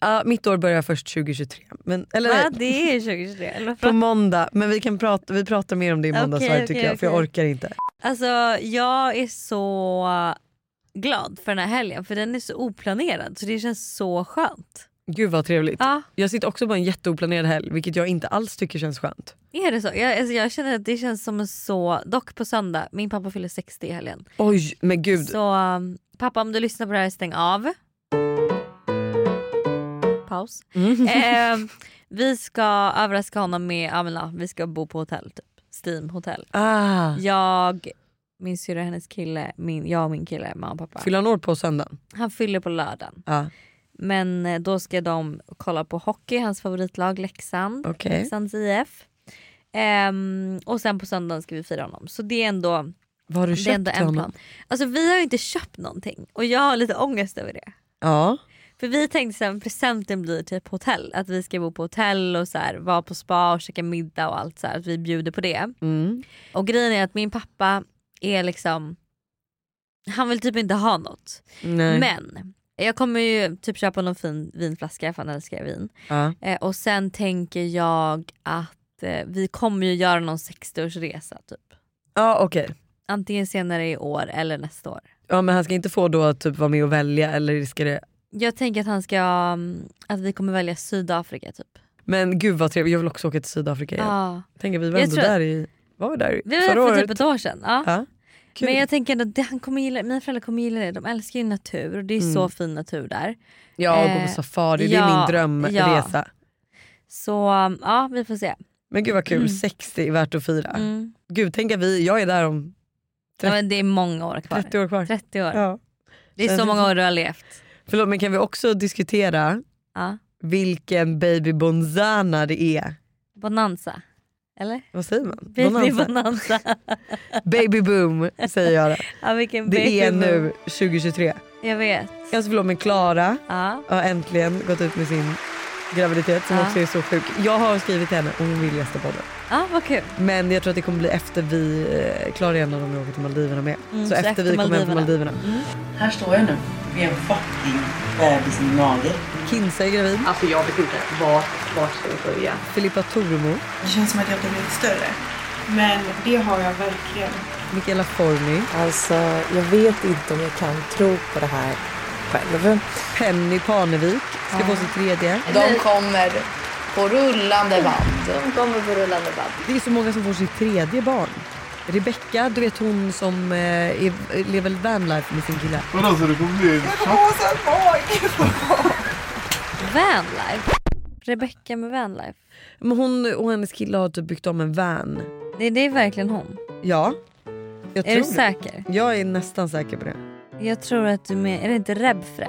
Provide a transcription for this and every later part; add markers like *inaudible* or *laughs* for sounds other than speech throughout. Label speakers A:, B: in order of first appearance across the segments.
A: Ja, mitt år börjar först 2023. Men, eller
B: Va?
A: nej,
B: Det är 2023. eller
A: på
B: vad?
A: måndag. Men vi, kan prata, vi pratar mer om det i
B: Okej,
A: måndagsvibe tycker
B: okej,
A: jag. För jag
B: okej.
A: orkar inte.
B: Alltså jag är så glad för den här helgen för den är så oplanerad så det känns så skönt.
A: Gud vad trevligt.
B: Ja,
A: Jag sitter också på en jätteoplanerad helg vilket jag inte alls tycker känns skönt.
B: är det så? Jag, alltså, jag känner att det känns som en så... Dock på söndag, min pappa fyller 60 i helgen.
A: Oj men gud.
B: Så um, pappa om du lyssnar på det här stäng av. Paus. Ehm, vi ska överraska honom med, ja, men, ja, vi ska bo på hotell typ. Steam hotell.
A: Ah.
B: Jag, min syrra, hennes kille, min, jag och min kille, mamma och pappa.
A: Fyller han år på söndagen?
B: Han fyller på lördagen.
A: Ja.
B: Men eh, då ska de kolla på hockey, hans favoritlag Leksand.
A: Okej.
B: Leksands IF. Ehm, och sen på söndagen ska vi fira honom. Så det är ändå,
A: Vad har du
B: det är
A: köpt
B: ändå
A: till
B: en
A: honom?
B: plan. Alltså vi har ju inte köpt någonting och jag har lite ångest över det.
A: Ja.
B: För vi tänkte sen presenten blir typ hotell. Att vi ska bo på hotell och så här, vara på spa och käka middag och allt så här. Att vi bjuder på det.
A: Mm.
B: Och grejen är att min pappa är liksom, han vill typ inte ha något.
A: Nej.
B: Men jag kommer ju typ köpa någon fin vinflaska för han älskar vin.
A: Ja.
B: Eh, och sen tänker jag att eh, vi kommer ju göra någon 60-årsresa typ.
A: Ja okej.
B: Antingen senare i år eller nästa år.
A: Ja men han ska inte få då att typ vara med och välja eller ska det...
B: Jag tänker att han ska, mm, att vi kommer välja Sydafrika typ.
A: Men gud vad trevligt, jag vill också åka till Sydafrika igen.
B: Ja.
A: Tänk att vi var
B: Jag
A: ändå
B: tror-
A: där i... Var vi där
B: Det var
A: förra
B: för
A: året?
B: typ ett år sedan. Ja.
A: Ja. Kul.
B: Men jag tänker ändå att det- han kommer gilla, mina föräldrar kommer gilla det. De älskar ju natur och det är
A: Mm.
B: så fin natur där.
A: Ja, och gå
B: Eh,
A: på safari. det
B: ja,
A: är min drömresa.
B: Så mm, ja, vi får se.
A: Men gud vad kul, 60 är värt att fira.
B: Mm.
A: Gud tänk att vi, jag är där om
B: Ja, men det är många år kvar.
A: 30 år kvar.
B: 30 år.
A: Ja.
B: Det är så många år du har levt.
A: Förlåt men kan vi också diskutera
B: Ja.
A: vilken baby bonzana det är?
B: Bonanza. Eller?
A: Vad säger man?
B: Baby
A: *laughs* Bonanza?
B: bonanza.
A: baby boom säger jag då.
B: ja, vilken baby
A: Det är
B: boom.
A: nu 2023.
B: Jag vet.
A: Alltså förlåt men Klara
B: Ja.
A: har äntligen gått ut med sin graviditet som
B: Ja.
A: också är så sjuk. Jag har skrivit till henne och hon vill gästa podden.
B: ja, vad kul.
A: Men jag tror att det kommer bli efter vi, eh, Klara är en av dem jag åker till Maldiverna med.
B: Mm,
A: så,
B: så
A: efter,
B: efter
A: vi kommer hem från
B: Maldiverna.
A: Maldiverna.
C: Här står jag nu med en fucking bebis i min mage.
A: Kinsa är gravid.
D: Alltså jag vet inte vart, vart ska vi börja?
A: Filippa Toremo,
E: Det känns som att jag har blivit större. Men det har jag verkligen.
A: Mikaela Forni,
F: Alltså, jag vet inte om jag kan tro på det här själv.
A: Penny Parnevik ska få sitt tredje.
G: De kommer på rullande band.
D: De kommer på rullande band.
A: Det är så många som får sitt tredje barn. Rebecka, du vet hon som eh, är, lever vanlife med sin kille.
B: Vanlife. Rebecca med Vanlife.
A: Men hon och hennes kille har typ byggt om en van.
B: Det, det är verkligen hon.
A: Ja, jag
B: Är du
A: tror det.
B: säker?
A: Jag är nästan säker på det.
B: Jag tror att du med... Är det inte Rebfre?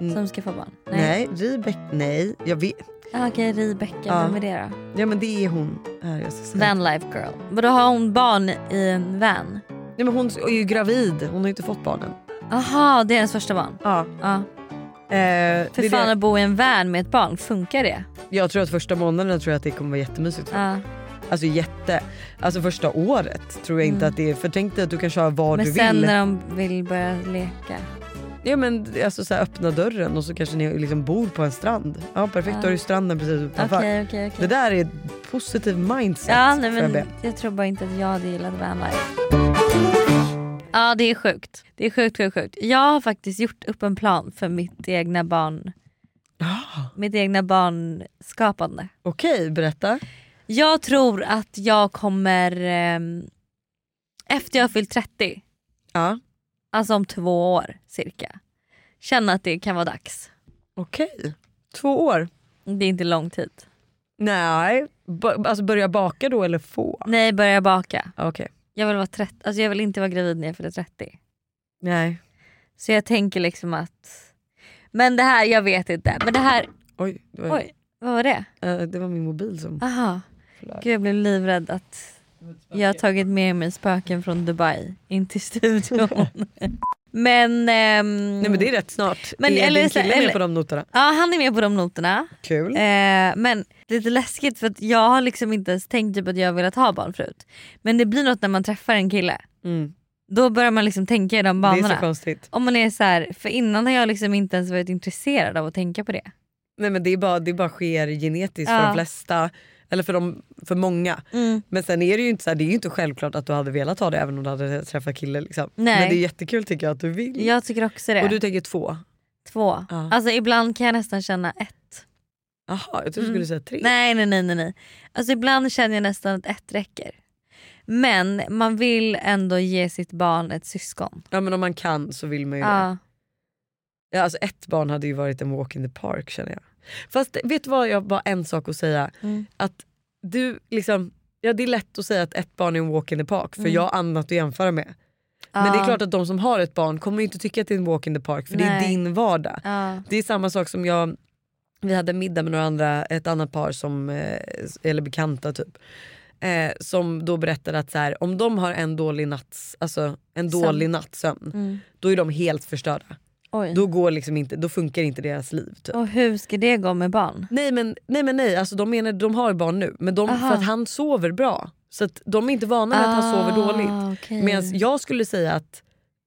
A: Mm.
B: Som ska få barn?
A: Nej, Rebecka, nej. Jag vet.
B: Ah, Okej, Rebecca.
A: Ja.
B: Vem är det då?
A: Ja men det är hon. Här, jag ska säga.
B: Vanlife girl. Men då har hon barn i en van?
A: Nej, men hon är ju gravid, hon har ju inte fått barnen.
B: Aha, det är hennes första barn.
A: Ja.
B: Ja.
A: Eh,
B: För
A: det är
B: fan
A: det.
B: att bo i en van med ett barn, funkar det?
A: Jag tror att första månaden tror jag att det kommer vara jättemysigt. för
B: Ja.
A: Alltså jätte. Alltså första året tror jag inte att det är. För tänk dig att du kan köra vad
B: Mm. Men
A: du
B: sen
A: vill.
B: när de vill börja leka.
A: Ja men alltså så här, öppna dörren och så kanske ni liksom bor på en strand. Ja perfekt,
B: Ja.
A: då är ju stranden precis utanför.
B: Okej, okej,
A: Det
B: okej.
A: där är ett positiv mindset
B: Ja, nej,
A: får jag
B: men
A: be.
B: jag tror bara inte att jag hade gillat vanlife. Ja det är sjukt. Det är sjukt, sjukt, sjukt. Jag har faktiskt gjort upp en plan för mitt egna barn. Mitt egna barnskapande.
A: Okej, berätta.
B: Jag tror att jag kommer, ehm, efter jag har fyllt 30,
A: Ja.
B: alltså om två år cirka, känna att det kan vara dags.
A: Okej. Två år?
B: Det är inte lång tid.
A: Nej. B- alltså börja baka då eller få?
B: Nej, börja baka.
A: Ah, Okej.
B: Jag vill, vara 30, alltså jag vill inte vara gravid när jag fyller 30.
A: Nej.
B: Så jag tänker liksom att... Men det här, jag vet inte. Men det här...
A: Oj, det var,
B: Oj, vad var det?
A: Eh, det var min mobil som...
B: Aha.
A: Förlåt.
B: Gud jag blev livrädd att Jag har tagit med mig spöken från Dubai in till
A: *laughs*
B: studion. men... ehm,
A: Nej men det är rätt snart.
B: Men
A: Men, är
B: eller
A: din
B: så-
A: kille
B: eller-
A: med på de noterna?
B: Ja han är med på de noterna.
A: Kul.
B: Eh, men lite läskigt för att jag har liksom inte ens tänkt typ att jag har velat ha barn förut. Men det blir något när man träffar en kille.
A: Mm.
B: Då börjar man liksom tänka i de
A: Det är så
B: banorna.
A: konstigt.
B: Om man är så här, för innan har jag liksom inte ens varit intresserad av att tänka på det.
A: Nej men det, är bara, det bara sker genetiskt för
B: Ja.
A: de flesta. Eller för, de, för många. Men sen är det ju inte så här, det är ju inte självklart att du hade velat ha det även om du hade träffat kille. Liksom.
B: Nej.
A: Men det är jättekul tycker jag att du vill.
B: Jag tycker också det.
A: Och du tänker två?
B: Två.
A: Ja.
B: Alltså ibland kan jag nästan känna ett.
A: Jaha jag trodde du skulle säga tre.
B: Nej nej nej nej. nej. Alltså ibland känner jag nästan att ett räcker. Men man vill ändå ge sitt barn ett syskon.
A: Ja men om man kan så vill man ju det.
B: Ja.
A: Ja, alltså ett barn hade ju varit en walk in the park känner jag. Fast vet du vad, jag har bara en sak att säga.
B: Mm.
A: Att du liksom, ja det är lätt att säga att ett barn är en walk in the park
B: Mm.
A: för jag har annat att jämföra med. Men det är
B: Ja.
A: klart att de som har ett barn kommer ju inte tycka att det är en walk in the park för det är
B: Nej. Ah.
A: din vardag.
B: Ja.
A: Det är samma sak som jag, vi hade middag med några andra, ett annat par som, eh, eller bekanta typ. Eh, som då berättade att så här, om de har en dålig natts, alltså en dålig nattsömn,
B: Mm.
A: då är de helt förstörda.
B: Oj.
A: Då, går liksom inte, då funkar inte deras liv. Typ.
B: Och hur ska det gå med barn?
A: Nej men nej, men nej. Alltså, de menar de har barn nu men de,
B: Aha.
A: för att han sover bra. Så att de är inte vana med att han sover dåligt.
B: okej.
A: Medan jag skulle säga att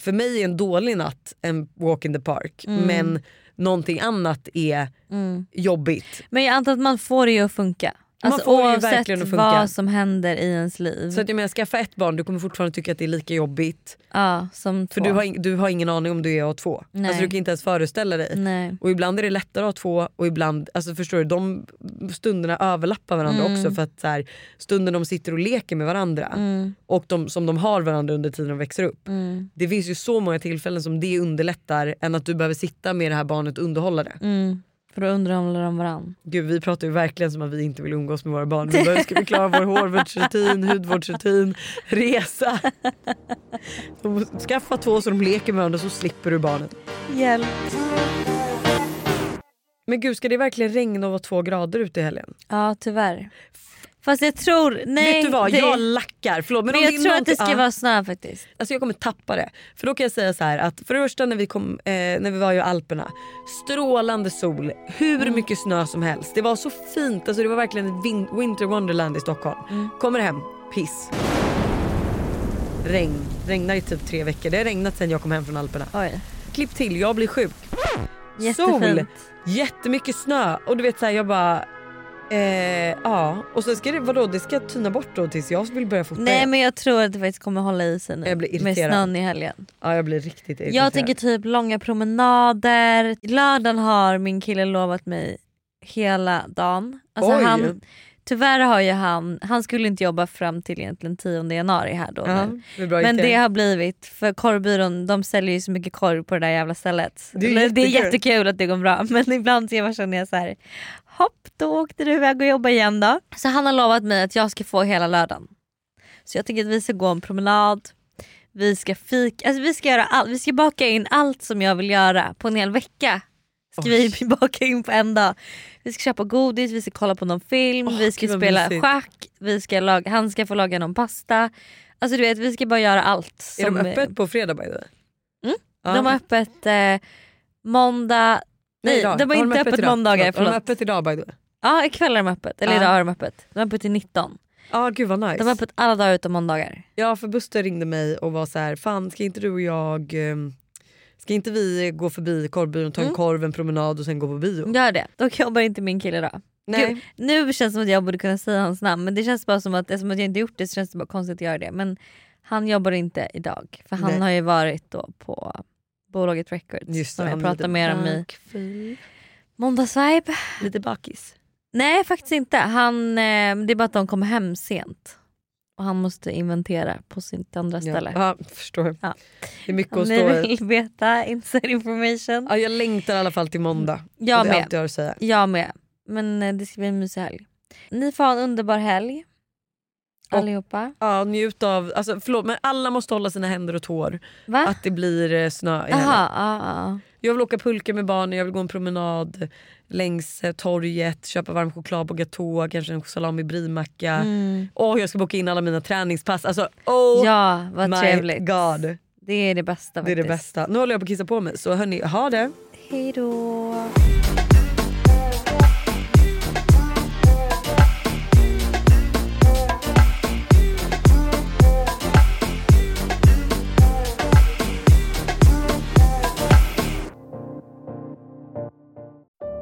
A: för mig är en dålig natt en walk in the park men någonting annat är
B: Mm.
A: jobbigt.
B: Men jag antar att man får det ju att funka.
A: Man
B: Alltså,
A: får det ju
B: oavsett
A: verkligen att funka.
B: vad som händer i ens liv.
A: Så att jag menar skaffa ett barn du kommer fortfarande tycka att det är lika jobbigt.
B: ja, som två.
A: För du har, ing- du har ingen aning om du är A2.
B: Nej.
A: Alltså, du kan inte ens föreställa dig.
B: Nej.
A: Och ibland är det lättare att ha två och ibland, alltså förstår du, de stunderna överlappar varandra också för att så här, stunden de sitter och leker med varandra och de, som de har varandra under tiden de växer upp. Det finns ju så många tillfällen som det underlättar än att du behöver sitta med det här barnet och underhålla det.
B: Mm. För då underhåller de varandra.
A: Gud vi pratar ju verkligen som att vi inte vill umgås med våra barn. Men hur ska vi klara vår hårvårdsrutin, hudvårdsrutin, resa? De måste Skaffa två så de leker med varandra så slipper du barnet.
B: Hjälp.
A: Men gud ska det verkligen regna och vara två grader ute i helgen?
B: Ja tyvärr. Fast jag tror... Nej,
A: Vet du vad,
B: det,
A: jag lackar. Förlåt, men
B: men
A: om
B: jag
A: det är
B: tror att
A: någonting-
B: det ska
A: ja.
B: vara snö faktiskt.
A: Alltså jag kommer tappa det. För då kan jag säga så här att för det första när vi, kom, eh, när vi var i Alperna, strålande sol, hur mycket snö som helst. Det var så fint, alltså det var verkligen ett vin- winter wonderland i Stockholm. Kommer hem, piss. Regn, regnar i typ tre veckor. Det har regnat sen jag kom hem från Alperna.
B: Oj.
A: Klipp till, jag blir sjuk. Sol,
B: Jättefint.
A: jättemycket snö och du vet så här, jag bara Eh, ja, och sen ska det, vadå, det ska tyna bort då tills jag vill börja fota
B: Nej
A: igen.
B: men jag tror att det faktiskt kommer hålla i sig nu.
A: Jag blir
B: med
A: irriterad.
B: snön i helgen.
A: Ja, jag blir riktigt irriterad.
B: Jag tänker typ långa promenader. Lördagen har min kille lovat mig hela dagen. Alltså
A: Oj.
B: han, tyvärr har ju han, han skulle inte jobba fram till egentligen 10 januari här då.
A: Ja,
B: nu.
A: det är bra
B: Men
A: Ikea.
B: det har blivit, för korvbyrån de säljer ju så mycket korv på det där jävla stället.
A: Det är
B: Eller det är
A: jättekul.
B: jättekul att det går bra *laughs* men ibland så jag- känner jag så här. hopp då åkte du iväg och jobbade igen då. Så han har lovat mig att jag ska få hela lördagen. Så jag tänker att vi ska gå en promenad, vi ska fika, alltså vi ska göra allt, vi ska baka in allt som jag vill göra på en hel vecka. Ska vi *laughs* baka in på en dag. Vi ska köpa godis, vi ska kolla på någon film,
A: Åh,
B: vi ska
A: gud, vad
B: spela
A: mysigt.
B: schack, vi ska laga, han ska få laga någon pasta. Alltså du vet vi ska bara göra allt.
A: Är de
B: som-
A: öppet på fredag by the way?
B: Mm,
A: Ja.
B: De har öppet eh, måndag, nej,
A: idag.
B: de har inte öppet
A: idag?
B: måndagar,
A: Har de
B: förlåt.
A: öppet idag by the way?
B: ja ikväll är de öppet, eller
A: Ja.
B: idag har de öppet. De har öppet till 19.
A: Ja gud vad nice.
B: De har öppet alla dagar utom måndagar.
A: Ja för Buster ringde mig och var så här, fan ska inte du och jag, ehm, ska inte vi gå förbi korvbyrån,
B: Mm.
A: ta en korv, en promenad och sen gå på bio?
B: Gör det, dock jobbar inte min kille idag. Mm, Gud,
A: Nej.
B: nu känns det som att jag borde kunna säga hans namn men det känns bara som att eftersom att jag inte gjort det så känns det bara konstigt att göra det. Men han jobbar inte idag för han
A: Nej.
B: har ju varit då på bolaget Records
A: Just det,
B: som jag
A: han
B: pratade
A: är
B: med om i måndagsvibe.
A: Lite bakis.
B: Nej faktiskt inte, han, eh, det är bara att de kommer hem sent. Och han måste inventera på sitt andra ställe.
A: Ja, ja förstår.
B: Ja.
A: Det är mycket
B: Om
A: att
B: ni
A: stå i.
B: vill *laughs* veta inside information.
A: Ja, jag längtar i alla fall till måndag.
B: Mm, Jag
A: det är
B: med.
A: allt jag har att säga.
B: Jag med. Men eh, det ska bli en mysig helg. Ni får ha en underbar helg.
A: Och-
B: Allihopa.
A: Ja, njut av, alltså, förlåt men alla måste hålla sina händer och tår.
B: Va?
A: Att det blir eh, snö i helgen.
B: Ah. Aha, ja, ja.
A: Jag vill åka pulka med barnen, jag vill gå en promenad längs eh, torget, köpa varm choklad på gatå, kanske en salami brie-macka. Åh, jag ska boka in alla mina träningspass. Alltså, oh
B: Mm. Ja, vad
A: my
B: trevligt.
A: god.
B: Det är det bästa
A: Det är
B: faktiskt.
A: det bästa. Nu håller jag på att kissa på mig så hörni, ha det.
B: Hej då.